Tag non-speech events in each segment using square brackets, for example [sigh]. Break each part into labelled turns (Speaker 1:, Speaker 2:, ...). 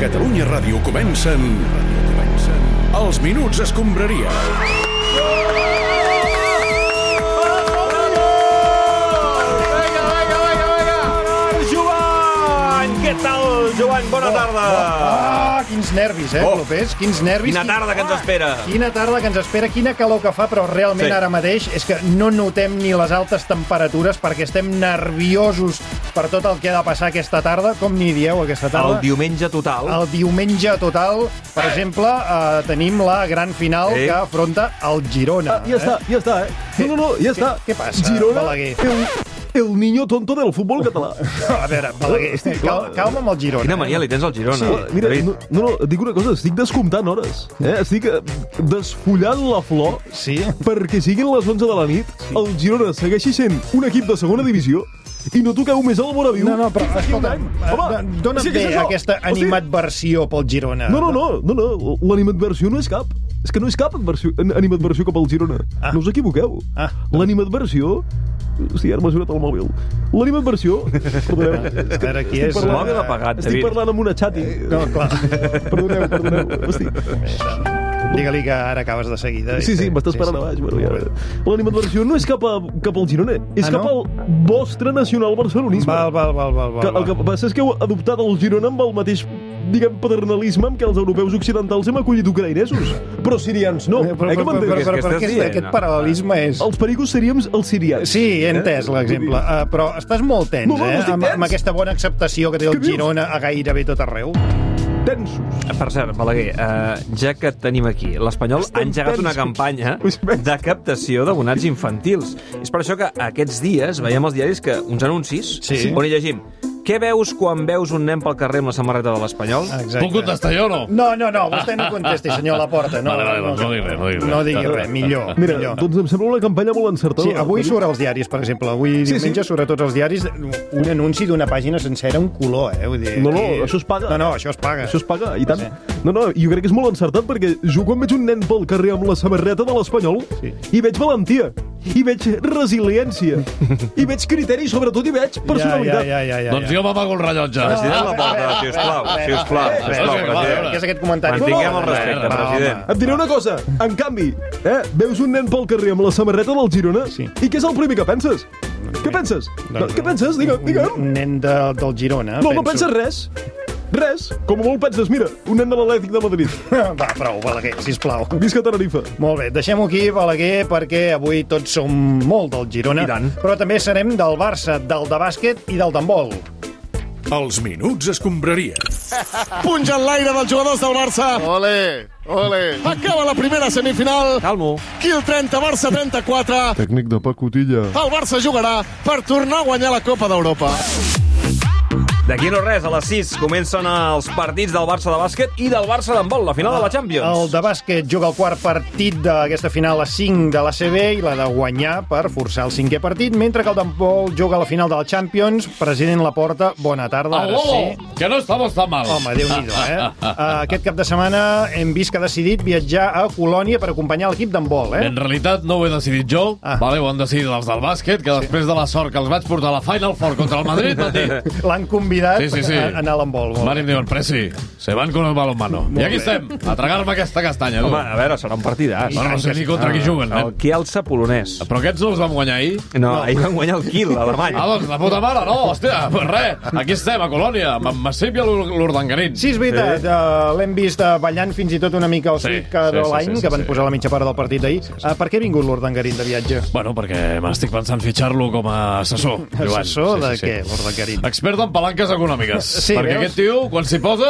Speaker 1: Catalunya Ràdio comencen... comencen... Els Minuts Escombraria.
Speaker 2: Vinga, vinga, vinga, vinga! Joan! Què tal, Joan? Bona tarda!
Speaker 3: Ah, quins nervis, eh,
Speaker 2: Oh.
Speaker 3: oh. Clopés? Quins nervis.
Speaker 2: Quina
Speaker 3: quin- Ah!
Speaker 2: tarda que ens espera!
Speaker 3: Quina tarda que ens espera, quina calor que fa, però realment
Speaker 2: Sí.
Speaker 3: sí. ara mateix és que no notem ni les altes temperatures perquè estem nerviosos per tot el que ha de passar aquesta tarda. Com ni dieu aquesta
Speaker 2: El
Speaker 3: tarda?
Speaker 2: diumenge total.
Speaker 3: El diumenge total, per exemple, eh, tenim la gran final
Speaker 2: Sí.
Speaker 3: sí. que afronta el Girona.
Speaker 4: Ah, ya está, ya está, ¿eh? No, no, no, ya está.
Speaker 3: qué pasa,
Speaker 4: Girona,
Speaker 3: Balaguer?
Speaker 4: el, el niño tonto del fútbol catalán.
Speaker 3: [laughs] A veure, Balaguer,
Speaker 4: Hosti,
Speaker 3: cal, calma amb el Girona. eh?
Speaker 2: Quina mania li tens al Girona.
Speaker 4: Sí, mira,
Speaker 2: David.
Speaker 4: no, no, no, et dic una cosa, estic descomptant hores. Eh? Estic eh, desfollant la flor
Speaker 3: Sí?
Speaker 4: perquè siguin les 11 de la nit, el Girona segueixi sent un equip de segona divisió i no toqueu més el Bonaviu.
Speaker 3: No, no, però
Speaker 4: Fins d'aquí un
Speaker 3: escolta'm,
Speaker 4: any. Home,
Speaker 3: eh, dona'm
Speaker 4: sí,
Speaker 3: sí,
Speaker 4: què és
Speaker 3: bé
Speaker 4: això?
Speaker 3: aquesta
Speaker 4: Hosti,
Speaker 3: animadversió pel Girona.
Speaker 4: No, no, no, no, no. l'animadversió no és cap. És que no és cap adversió, an- animadversió cap al Girona.
Speaker 3: Ah.
Speaker 4: No us equivoqueu.
Speaker 3: Ah.
Speaker 4: L'animadversió... Hosti, ara m'ha sonat el mòbil. L'animadversió... Perdoneu.
Speaker 3: A veure, qui és?
Speaker 2: parlant-
Speaker 3: eh,
Speaker 2: Mòbil apagat,
Speaker 4: estic
Speaker 2: David.
Speaker 4: parlant amb una xati.
Speaker 3: No, clar. [laughs]
Speaker 4: Perdoneu, perdoneu. Hosti.
Speaker 3: Digue-li que ara acabes de seguida.
Speaker 4: Sí, sí, m'estàs parant a baix. Bueno, ja. L'animadversió no és cap, a, cap al Girona, és
Speaker 3: Ah,
Speaker 4: cap
Speaker 3: no?
Speaker 4: al vostre nacional barcelonisme.
Speaker 3: Val, val, val, val, val.
Speaker 4: Que el que passa és que heu adoptat el Girona amb el mateix diguem, paternalisme amb què els europeus occidentals hem acollit ucraïnesos. Però sirians no.
Speaker 3: Però, però,
Speaker 4: eh, que
Speaker 3: però, però, però, però,
Speaker 4: m'entenguis?
Speaker 3: però
Speaker 2: Aquestes-
Speaker 3: aquest,
Speaker 2: sí,
Speaker 3: aquest
Speaker 2: no.
Speaker 3: paral·lelisme és...
Speaker 4: Els pericos seríem els sirians.
Speaker 3: Sí, he entès l'exemple.
Speaker 4: Eh? Vull dir,
Speaker 3: Uh, però estàs molt tens,
Speaker 4: No, no, no
Speaker 3: eh?
Speaker 4: estic
Speaker 3: Amb,
Speaker 4: tens.
Speaker 3: amb aquesta bona acceptació que té
Speaker 4: Què
Speaker 3: el
Speaker 4: dius?
Speaker 3: Girona a gairebé tot arreu.
Speaker 4: Tensos.
Speaker 2: Per cert, Balaguer, eh, ja que et tenim aquí, l'Espanyol ha
Speaker 4: Estem
Speaker 2: engegat una
Speaker 4: tensos.
Speaker 2: campanya
Speaker 4: Us veig.
Speaker 2: de captació d'abonats infantils. És per això que aquests dies veiem als diaris que uns anuncis
Speaker 3: Sí.
Speaker 2: on hi llegim què veus quan veus un nen pel carrer amb la samarreta de l'Espanyol?
Speaker 3: Exacte.
Speaker 5: Puc contestar jo o no?
Speaker 3: No, no, no, vostè no contesti, senyor Laporta. No,
Speaker 5: Vale, vale, doncs no digui res, no digui res.
Speaker 3: No digui res, millor.
Speaker 4: Mira,
Speaker 3: millor.
Speaker 4: doncs em sembla una campanya molt encertada.
Speaker 3: Ah, Sí, avui surt als diaris, per exemple. Avui
Speaker 4: Sí,
Speaker 3: sí,
Speaker 4: sí.
Speaker 3: diumenge sí. surt a tots els diaris un anunci d'una pàgina sencera, un color, eh? Vull dir,
Speaker 4: No, no,
Speaker 3: aquí-
Speaker 4: això es paga.
Speaker 3: No, no, això es paga.
Speaker 4: Això es paga, i tant.
Speaker 3: Sí.
Speaker 4: No, no, jo crec que és molt encertat perquè jo quan veig un nen pel carrer amb la samarreta de l'Espanyol
Speaker 3: Sí.
Speaker 4: hi veig valentia, hi veig resiliència,
Speaker 3: [laughs]
Speaker 4: hi veig criteri i sobretot hi veig personalitat.
Speaker 3: Ja, ja, ja, ja, ja.
Speaker 5: Doncs jo m'amago el rellotge.
Speaker 2: President
Speaker 3: Ah,
Speaker 2: Laporta,
Speaker 3: ah,
Speaker 2: sisplau,
Speaker 3: ah,
Speaker 2: sisplau,
Speaker 3: ah,
Speaker 2: sisplau,
Speaker 5: ah, ah,
Speaker 2: president.
Speaker 5: ah,
Speaker 3: Què és aquest comentari?
Speaker 2: Mantinguem el
Speaker 3: No, no,
Speaker 2: respecte,
Speaker 3: no, no,
Speaker 2: president.
Speaker 4: Et diré una cosa, en canvi, eh, veus un nen pel carrer amb la samarreta del Girona
Speaker 3: Sí.
Speaker 4: i què és el primer que penses? Què penses?
Speaker 3: Doncs,
Speaker 4: Què penses? Digue'm,
Speaker 3: home,
Speaker 4: digue'm.
Speaker 3: Un nen de, del Girona.
Speaker 4: No, no penses res. Res. Com a molt penses, mira, un nen de l'Atlètic de Madrid.
Speaker 3: Va, prou, Balaguer, sisplau.
Speaker 4: Visca Tenerife.
Speaker 3: Molt bé, deixem-ho aquí, Balaguer, perquè avui tots som molt del Girona,
Speaker 2: I tant.
Speaker 3: però també serem del Barça, del de bàsquet i del d'handbol.
Speaker 1: Els Minuts Escombraria.
Speaker 6: Punja en l'aire dels jugadors del Barça.
Speaker 7: Ole, ole.
Speaker 6: Acaba la primera semifinal.
Speaker 2: Calmo.
Speaker 6: Kiel 30, Barça 34.
Speaker 7: Tècnic de pacotilla.
Speaker 6: El Barça jugarà per tornar a guanyar la Copa d'Europa.
Speaker 2: D'aquí no res, a les 6 comencen els partits del Barça de bàsquet i del Barça d'handbol, la final de la
Speaker 3: El
Speaker 2: Champions.
Speaker 3: de bàsquet juga el quart partit d'aquesta final a 5 de la CB i l'ha de guanyar per forçar el cinquè partit, mentre que el d'handbol juga a la final de la Champions. President Laporta, bona tarda. Ara sí.
Speaker 5: Oh, que no estamos tan mal.
Speaker 3: Home, déu nhi
Speaker 5: [laughs]
Speaker 3: eh? Uh, aquest cap de setmana hem vist que ha decidit viatjar a Colònia per acompanyar l'equip d'handbol, eh?
Speaker 5: En realitat no ho he decidit jo,
Speaker 3: Ah.
Speaker 5: ah. vale, ho han decidit els del bàsquet, que després de la sort que els vaig portar a la Final Four contra el Madrid, m'han
Speaker 3: [laughs]
Speaker 5: dit...
Speaker 3: L'han convidat
Speaker 5: Sí, sí, sí.
Speaker 3: a a anar a l'handbol. molt
Speaker 5: Van i em diuen, Presi, se van con el balonmano. I aquí estem, a tragar-me aquesta castanya, tu.
Speaker 2: Home, a veure, serà un partidàs.
Speaker 5: Bueno, no sé ni
Speaker 3: ah,
Speaker 5: contra qui juguen,
Speaker 2: El
Speaker 5: nen.
Speaker 2: Kielce polonès.
Speaker 5: Però aquests no els vam guanyar ahir?
Speaker 2: No, ahir van guanyar el Kiel, alemany.
Speaker 5: Ah, doncs la puta mare, no, hòstia, pues res, aquí estem, a Colònia, amb en Massip i l'Urdangarín.
Speaker 3: Sí, és veritat. Sí. Uh, L'hem vist uh, ballant fins i tot una mica al
Speaker 5: Sí,
Speaker 3: sí, Caroline, sí, sí, sí, que van
Speaker 5: sí.
Speaker 3: posar la mitja part del partit ahir. Uh, per què ha vingut l'Ordangarín de viatge?
Speaker 5: Bueno, perquè m'estic pensant fitxar-lo com a
Speaker 3: [laughs]
Speaker 5: assessor. Joan.
Speaker 3: Assessor de
Speaker 5: sí,
Speaker 3: què,
Speaker 5: sí.
Speaker 3: l'Ordangarín?
Speaker 5: Expert en palanques econòmiques.
Speaker 3: [laughs] Sí,
Speaker 5: perquè
Speaker 3: veus?
Speaker 5: aquest tio, quan s'hi posa,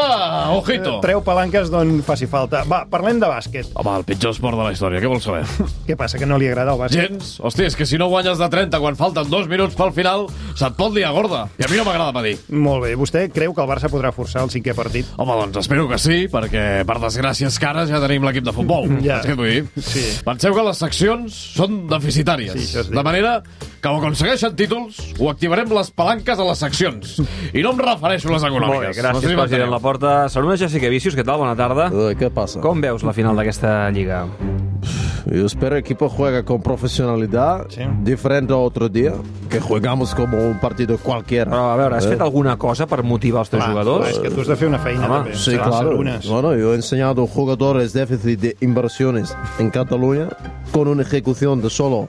Speaker 5: ojito.
Speaker 3: Treu palanques d'on faci falta. Va, parlem de bàsquet.
Speaker 5: Home, el pitjor esport de la història, què vols
Speaker 3: [laughs]
Speaker 5: saber?
Speaker 3: Què passa, que no li agrada el bàsquet?
Speaker 5: Gens. Hòstia, és que si no guanyes de 30 quan falten dos minuts pel final, se't pot liar gorda. I a mi no m'agrada pedir.
Speaker 3: Molt bé. Vostè creu que el Barça podrà forçar el cinquè partit?
Speaker 5: Home, doncs espero que sí, perquè per desgràcies cares ja tenim l'equip de futbol.
Speaker 3: Ja.
Speaker 5: Saps què et vull dir?
Speaker 3: Sí.
Speaker 5: Penseu que les seccions són deficitàries.
Speaker 3: Sí, això es diu.
Speaker 5: de manera que ho aconsegueixen títols, ho activarem les palanques a les seccions. I no em refereixo a les
Speaker 2: Molt bé,
Speaker 5: econòmiques.
Speaker 2: gràcies,
Speaker 5: si
Speaker 2: president
Speaker 5: m'enteneu.
Speaker 2: Laporta. Saluda Jessica Vicius, què tal? Bona tarda.
Speaker 4: què passa?
Speaker 2: Com veus la final d'aquesta lliga?
Speaker 8: Yo espero que el equipo juegue con profesionalidad,
Speaker 3: Sí.
Speaker 8: diferente a otro día, que jugamos como un partido cualquiera.
Speaker 2: Però, a veure, has fet alguna cosa per motivar els teus
Speaker 3: Clar,
Speaker 2: jugadors?
Speaker 3: és que tu has de fer una feina,
Speaker 2: Home,
Speaker 3: també.
Speaker 8: Sí,
Speaker 3: Serà
Speaker 8: claro.
Speaker 3: Unes.
Speaker 8: Bueno, yo he enseñado jugadores déficit de inversiones en Cataluña con una ejecución de solo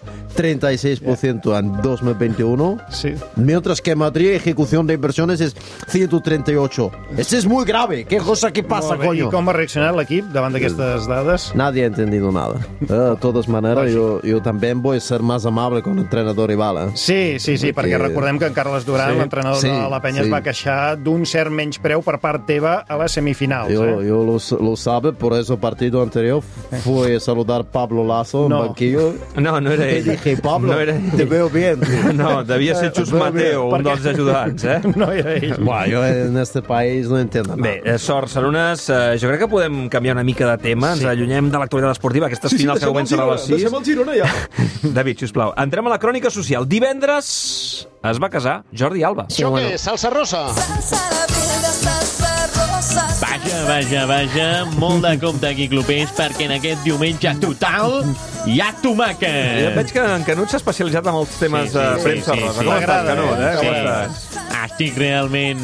Speaker 8: 36% en 2021,
Speaker 3: Sí.
Speaker 8: mientras que en Madrid ejecución de inversiones es 138. Esto es muy grave. ¿Qué cosa que pasa,
Speaker 3: Molt bé, I
Speaker 8: coño?
Speaker 3: Ah, com ha reaccionat l'equip davant d'aquestes dades?
Speaker 8: Nadie ha entendido nada. Eh, de todas maneras, yo, yo también voy a ser más amable con el entrenador rival. ¿eh?
Speaker 3: Sí, sí, sí, perquè recordem que en Carles Duran,
Speaker 8: Sí,
Speaker 3: l'entrenador
Speaker 8: sí,
Speaker 3: de la Penya, es
Speaker 8: sí.
Speaker 3: va queixar d'un cert menyspreu per part teva a les semifinals.
Speaker 8: Yo,
Speaker 3: eh?
Speaker 8: yo lo, lo sabe, por eso el partido anterior fue a saludar a Pablo Lazo
Speaker 3: No.
Speaker 8: en banquillo.
Speaker 2: No, no era
Speaker 8: Le
Speaker 2: ell.
Speaker 8: dije, Pablo,
Speaker 2: no era
Speaker 8: te
Speaker 2: ell.
Speaker 8: veo bien.
Speaker 2: No, devia ser Xus
Speaker 8: Bé, bé,
Speaker 2: Mateo, un
Speaker 3: perquè-
Speaker 2: dels ajudants, eh?
Speaker 3: [laughs] No era ell.
Speaker 8: Buah, yo en este país no entiendo nada.
Speaker 2: Bé, eh, sort, Sarunes, eh, jo crec que podem canviar una mica de tema, ens allunyem de l'actualitat esportiva, aquestes
Speaker 4: Sí, sí,
Speaker 2: finals que
Speaker 4: deixem
Speaker 2: comencen
Speaker 4: el
Speaker 2: a
Speaker 4: Girona,
Speaker 2: les 6.
Speaker 4: deixem el Girona ja.
Speaker 2: David, sisplau, entrem a la crònica social. Divendres es va casar Jordi Alba.
Speaker 6: Això què és? Salsa rosa?
Speaker 9: Vaja, vaja, vaja, molt de compte aquí, clubers, perquè en aquest diumenge total hi ha
Speaker 2: Ja
Speaker 9: tomàquet.
Speaker 2: Eh, veig que en Canut s'ha especialitzat en els temes
Speaker 9: Sí, sí,
Speaker 2: de
Speaker 9: sí,
Speaker 2: premsa
Speaker 9: sí,
Speaker 2: rosa.
Speaker 9: sí.
Speaker 2: Com estàs,
Speaker 3: M'agrada,
Speaker 2: Canut? Eh?
Speaker 3: eh?
Speaker 2: Com
Speaker 3: Sí.
Speaker 2: estàs?
Speaker 9: Estic realment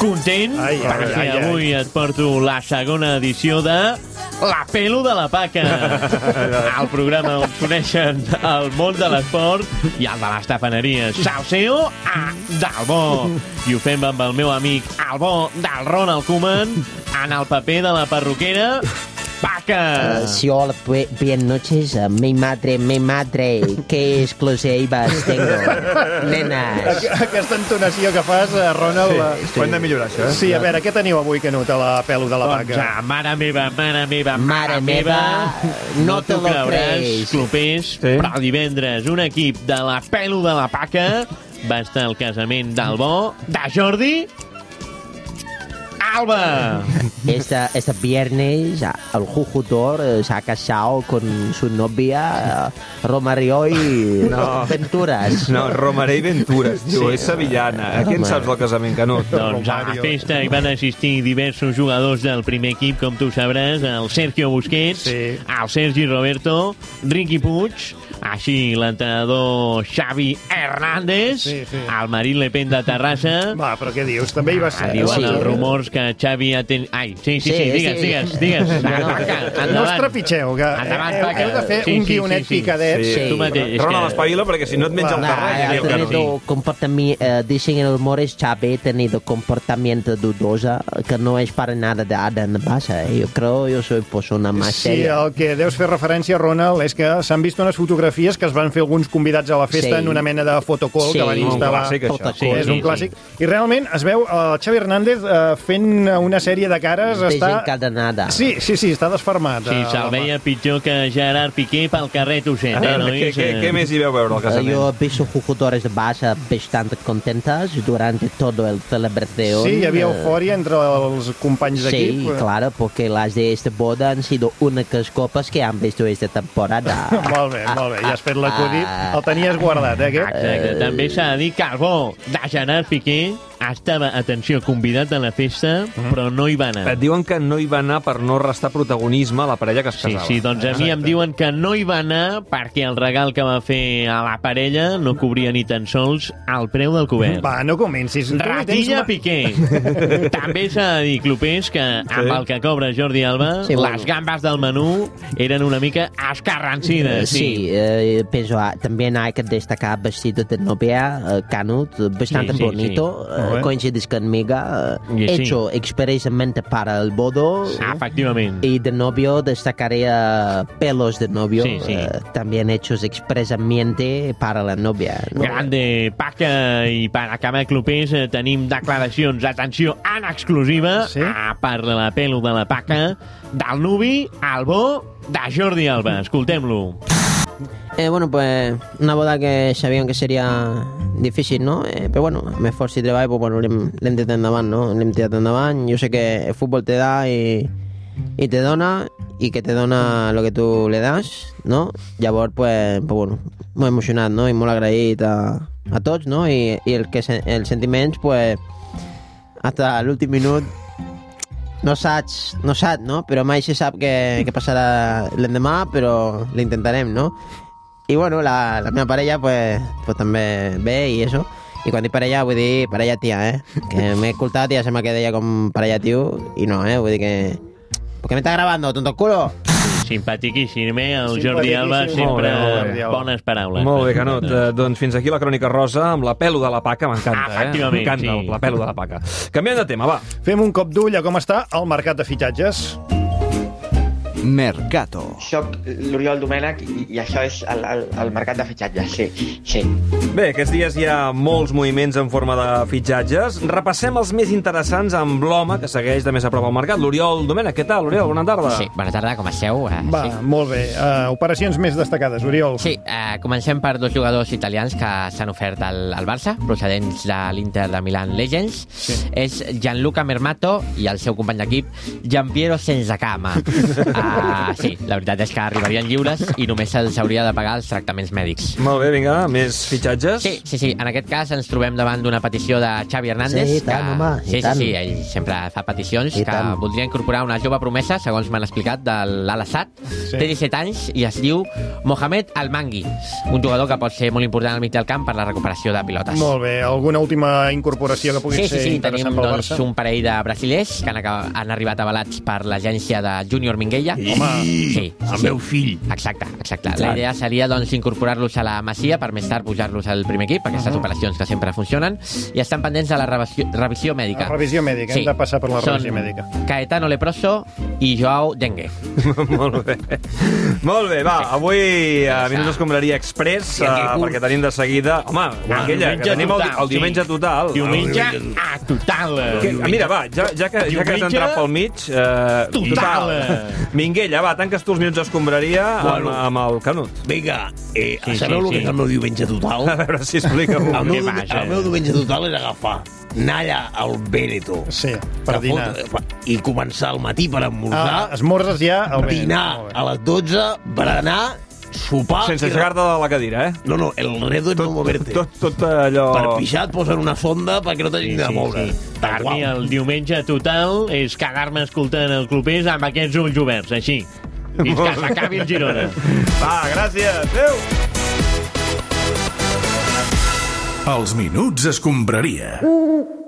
Speaker 9: content
Speaker 3: Ai, ai,
Speaker 9: perquè
Speaker 3: ai, ai.
Speaker 9: avui et porto la segona edició de La pelo de la paca, el programa on coneixen el món de l'esport i el de les tafaneries. Salseo a Dalbó. I ho fem amb el meu amic Albó del Ronald Koeman en el paper de la perruquera Paca.
Speaker 10: Eh, Sí, hola, bu- bien noches. Eh, Mi madre, mi madre, qué exclusivas tengo.
Speaker 9: [laughs]
Speaker 10: Nenas.
Speaker 3: Aqu- Aquesta entonació que fas, eh, Ronald... Sí,
Speaker 4: Ho hem de millorar, això, eh?
Speaker 3: sí a veure, què teniu avui, Canut, a la pelo de la
Speaker 9: Doncs,
Speaker 3: vaca?
Speaker 9: ah, mare meva, mare meva,
Speaker 10: Mare meva, no te
Speaker 9: t'ho
Speaker 10: lo
Speaker 9: creuràs,
Speaker 10: creus.
Speaker 9: Clopés, sí. però divendres un equip de la pelo de la paca va estar al casament del bo de Jordi Alba.
Speaker 10: Esta, este viernes ah, el Jujutor eh, se ha casado con su novia eh, Romario
Speaker 9: [laughs]
Speaker 10: y
Speaker 2: No.
Speaker 10: Venturas.
Speaker 2: No, Romaré i Ventura, es diu, és sevillana. Aquí en
Speaker 10: Home.
Speaker 2: saps del casament, Canut.
Speaker 9: Doncs a la festa hi van assistir diversos jugadors del primer equip, com tu sabràs, el Sergio Busquets,
Speaker 3: Sí.
Speaker 9: el Sergi Roberto, Riqui Puig, així l'entrenador Xavi Hernández,
Speaker 3: Sí, sí.
Speaker 9: el Marín Le Pen de Terrassa,
Speaker 3: Va, però què dius? També hi va ser. eh?
Speaker 9: Ah, diuen
Speaker 10: sí.
Speaker 9: els rumors que Xavi ha ten... Ai, sí, sí, sí,
Speaker 10: Sí,
Speaker 9: digues,
Speaker 10: sí.
Speaker 9: digues, digues.
Speaker 10: [laughs] No, no.
Speaker 9: Paca,
Speaker 3: No us
Speaker 9: endavant.
Speaker 3: trepitgeu, que eh,
Speaker 9: Endavant,
Speaker 3: heu,
Speaker 9: Paca.
Speaker 3: heu de fer
Speaker 9: Sí,
Speaker 3: un
Speaker 9: sí,
Speaker 3: guionet
Speaker 9: sí, sí.
Speaker 3: picadet.
Speaker 9: Sí. Tu mateix, és
Speaker 2: Ronald,
Speaker 9: que-
Speaker 2: espavila, perquè si no et menja el
Speaker 3: Clar,
Speaker 2: terreny. diu
Speaker 10: Nah,
Speaker 2: Eh,
Speaker 10: ha
Speaker 2: Canut.
Speaker 10: tenido comportamiento, eh, dicen en los mores, Chávez ha tenido comportamiento dudosa, que no es para nada de Adam Bassa. Yo creo yo soy persona más
Speaker 3: Sí,
Speaker 10: seria.
Speaker 3: el que deus fer referència, Ronald, és que s'han vist unes fotografies que es van fer alguns convidats a la festa
Speaker 10: Sí.
Speaker 3: en una mena de fotocall
Speaker 10: Sí.
Speaker 3: que van
Speaker 10: Un
Speaker 3: instal·lar.
Speaker 2: clàssic, això.
Speaker 10: Tota
Speaker 9: Sí,
Speaker 3: Sí, és un
Speaker 9: sí.
Speaker 3: clàssic. I realment es veu el Xavi Hernández eh, fent una sèrie de cares. Està...
Speaker 10: Desencadenada.
Speaker 3: Sí, sí, sí, està desfermat.
Speaker 9: Sí,
Speaker 3: eh,
Speaker 9: se'l
Speaker 3: l'home.
Speaker 9: veia pitjor que Gerard Piqué pel carrer Tosset,
Speaker 2: A
Speaker 9: eh,
Speaker 2: veure, què,
Speaker 9: nois?
Speaker 2: què, què més hi veu veure al
Speaker 10: Eh,
Speaker 2: casament?
Speaker 10: Yo he visto jugadores de base bastante contentas durante todo el celebración.
Speaker 3: Sí, hi havia
Speaker 10: Eh,
Speaker 3: eufòria entre els companys d'equip.
Speaker 10: Sí, claro, porque las de esta boda han sido únicas copas que han visto esta temporada.
Speaker 3: [laughs]
Speaker 10: Ah,
Speaker 3: Molt bé, molt bé, ja has fet
Speaker 11: Ah,
Speaker 3: l'acudit. El tenies guardat, eh, aquest?
Speaker 9: Exacte, també s'ha de dir que el bo de Gerard Piqué estava, atenció, convidat a la festa,
Speaker 3: Mhm.
Speaker 9: però no hi va anar.
Speaker 2: Et diuen que no hi va anar per no restar protagonisme a la parella que es
Speaker 9: Sí,
Speaker 2: casava.
Speaker 9: sí, doncs a mi em diuen que no hi va anar perquè el regal que va fer a la parella no cobria ni tan sols el preu del cobert.
Speaker 3: Eh, Va, no comencis. Tu li tens
Speaker 9: Ratilla
Speaker 3: ma-
Speaker 9: Piqué.
Speaker 3: [laughs]
Speaker 9: També s'ha de dir, Clopés, que amb el que cobra Jordi Alba,
Speaker 10: Sí, bueno.
Speaker 9: les gambes del menú eren una mica escarrancides.
Speaker 10: Sí, eh, pienso ah, también hay que destacar vestido de novia, eh, Canut, eh, bastante
Speaker 9: Sí, sí,
Speaker 10: bonito, eh,
Speaker 3: Muy bien.
Speaker 10: coincides conmigo, eh,
Speaker 9: Y sí.
Speaker 10: hecho expresamente para el bodo.
Speaker 9: Efectivament.
Speaker 10: Y de novio destacaría pelos de novio,
Speaker 9: Sí, sí.
Speaker 10: eh, también hechos expresamente para la novia. ¿no?
Speaker 9: Grande, Paca, i per acabar, Clopés, eh, tenim declaracions, atenció, en exclusiva,
Speaker 3: Sí?
Speaker 9: a per la pelo de la Paca, del nuvi, al bo, de Jordi Alba. Escoltem-lo.
Speaker 10: Eh, bueno, pues una boda que sabían que seria difícil, no? Eh, però bueno, amb esforç i treball, pues, bueno, l'hem l'hem tirat endavant, no? L'hem tirat endavant. Jo sé que el futbol te da i, i te dona i que te dona el que tu le das, no? Llavors, pues, pues bueno, molt emocionat, no? I molt agraït a, a tots, no? I, i el que, se- els sentiments, pues, hasta l'últim minut
Speaker 12: no saps, no saps, no? Però mai se sap què, què passarà l'endemà, però l'intentarem, no? I bueno, la, la meva parella pues, pues també ve i això. I quan dic parella, vull dir parella tia, eh? Que m'he escoltat i ja sembla que deia com parella tio, i no, eh? Vull dir que... ¿Por qué me estás grabando, tonto culo?
Speaker 9: Simpatiquíssime, eh, el Jordi Alba sempre bones paraules.
Speaker 2: Molt bé, Canut. Eh, doncs fins aquí la crònica rosa amb la pelo de la paca. M'encanta, eh?
Speaker 9: Efectivament,
Speaker 2: M'encanta
Speaker 9: sí.
Speaker 2: la pelo de la paca. Canviem de tema, va.
Speaker 3: Fem un cop d'ull a com està el mercat de fitxatges.
Speaker 13: Mercato. Soc l'Oriol Domènech i, i això és el, el, el mercat de fitxatges, sí, sí.
Speaker 2: Bé, aquests dies hi ha molts moviments en forma de fitxatges. Repassem els més interessants amb l'home que segueix de més a prop al mercat, l'Oriol Domènech. Què tal, Oriol? Bona tarda.
Speaker 11: Sí, bona tarda, com esteu? Eh,
Speaker 3: Va,
Speaker 11: sí.
Speaker 3: molt bé. Uh, operacions més destacades, Oriol.
Speaker 11: Sí, eh, comencem per dos jugadors italians que s'han ofert al, al Barça, procedents de l'Inter de Milan Legends. Sí. És Gianluca Mermato i el seu company d'equip, Giampiero Senzacama. uh, sí, la veritat és que arribarien lliures i només se'ls hauria de pagar els tractaments mèdics.
Speaker 2: Molt bé, vinga, més fitxatges.
Speaker 11: Sí, sí, sí. En aquest cas ens trobem davant d'una petició de Xavi Hernández.
Speaker 12: Sí, i tant,
Speaker 11: que...
Speaker 12: home, i
Speaker 11: Sí, sí,
Speaker 12: tant.
Speaker 11: sí, ell sempre fa peticions.
Speaker 12: I
Speaker 11: que
Speaker 12: tant.
Speaker 11: voldria incorporar una jove promesa, segons m'han explicat, de l'Alassat.
Speaker 12: Sí.
Speaker 11: Sí. Té 17 anys i es diu Mohamed Almangui, un jugador que pot ser molt important al mig del camp per la recuperació de pilotes.
Speaker 3: Molt bé. Alguna última incorporació que pugui
Speaker 11: Sí, sí,
Speaker 3: ser
Speaker 11: sí,
Speaker 3: interessant
Speaker 11: tenim
Speaker 3: pel
Speaker 11: doncs,
Speaker 3: Barça?
Speaker 11: un parell de brasilers que han, acab- han arribat avalats per l'agència de Júnior Minguella.
Speaker 3: Home,
Speaker 11: sí,
Speaker 3: el meu
Speaker 11: fill. Exacte, exacte.
Speaker 3: Exacte.
Speaker 11: La idea seria doncs, incorporar-los a la Masia per més tard pujar-los al primer equip, aquestes operacions que sempre funcionen, i estan pendents de la revisió, revisió mèdica.
Speaker 3: La revisió mèdica, hem de passar per la revisió mèdica.
Speaker 11: Caetano Leproso i Joao Dengue.
Speaker 2: [laughs] Molt bé. Molt bé, va, avui eh, a Minuts Escombraria Express, eh, perquè tenim de seguida... Home, aquella, que
Speaker 9: diumenge
Speaker 2: tenim el, di-
Speaker 9: total,
Speaker 2: el diumenge
Speaker 9: sí.
Speaker 2: total.
Speaker 9: Diumenge a total.
Speaker 2: Que, mira, va, ja, ja que, ja que has
Speaker 9: Diumenge
Speaker 2: entrat pel mig... Eh,
Speaker 9: total.
Speaker 2: Minguella, va, tanques tu els minuts d'escombraria amb,
Speaker 14: Bueno.
Speaker 2: amb el Canut.
Speaker 14: Vinga, eh,
Speaker 2: Sí,
Speaker 14: sí, sabeu
Speaker 2: sí,
Speaker 14: sí, el que
Speaker 2: sí.
Speaker 14: és el meu diumenge total?
Speaker 2: A veure si explica-ho.
Speaker 14: El, meu,
Speaker 2: Què
Speaker 14: diumenge-
Speaker 2: passa?
Speaker 14: el meu diumenge total és agafar anar allà al Veneto.
Speaker 3: Sí, per dinar.
Speaker 14: I començar el matí per
Speaker 3: Ah,
Speaker 14: almorzar.
Speaker 3: esmorzes ja al Veneto,
Speaker 14: Dinar
Speaker 3: molt bé.
Speaker 14: a les 12, berenar, sopar...
Speaker 2: Sense
Speaker 14: i-
Speaker 2: aixecar-te de la cadira, eh?
Speaker 14: No, no, el redo és no moverte.
Speaker 2: Tot, tot allò...
Speaker 14: Per pixar et posen una sonda perquè no t'hagin de moure.
Speaker 9: Per mi, el diumenge total és quedar-me escoltant els clubers amb aquests ulls oberts, així. Fins que s'acabi el Girona.
Speaker 2: Va, gràcies. Adéu.
Speaker 1: Els minuts escombraria.
Speaker 15: Mm.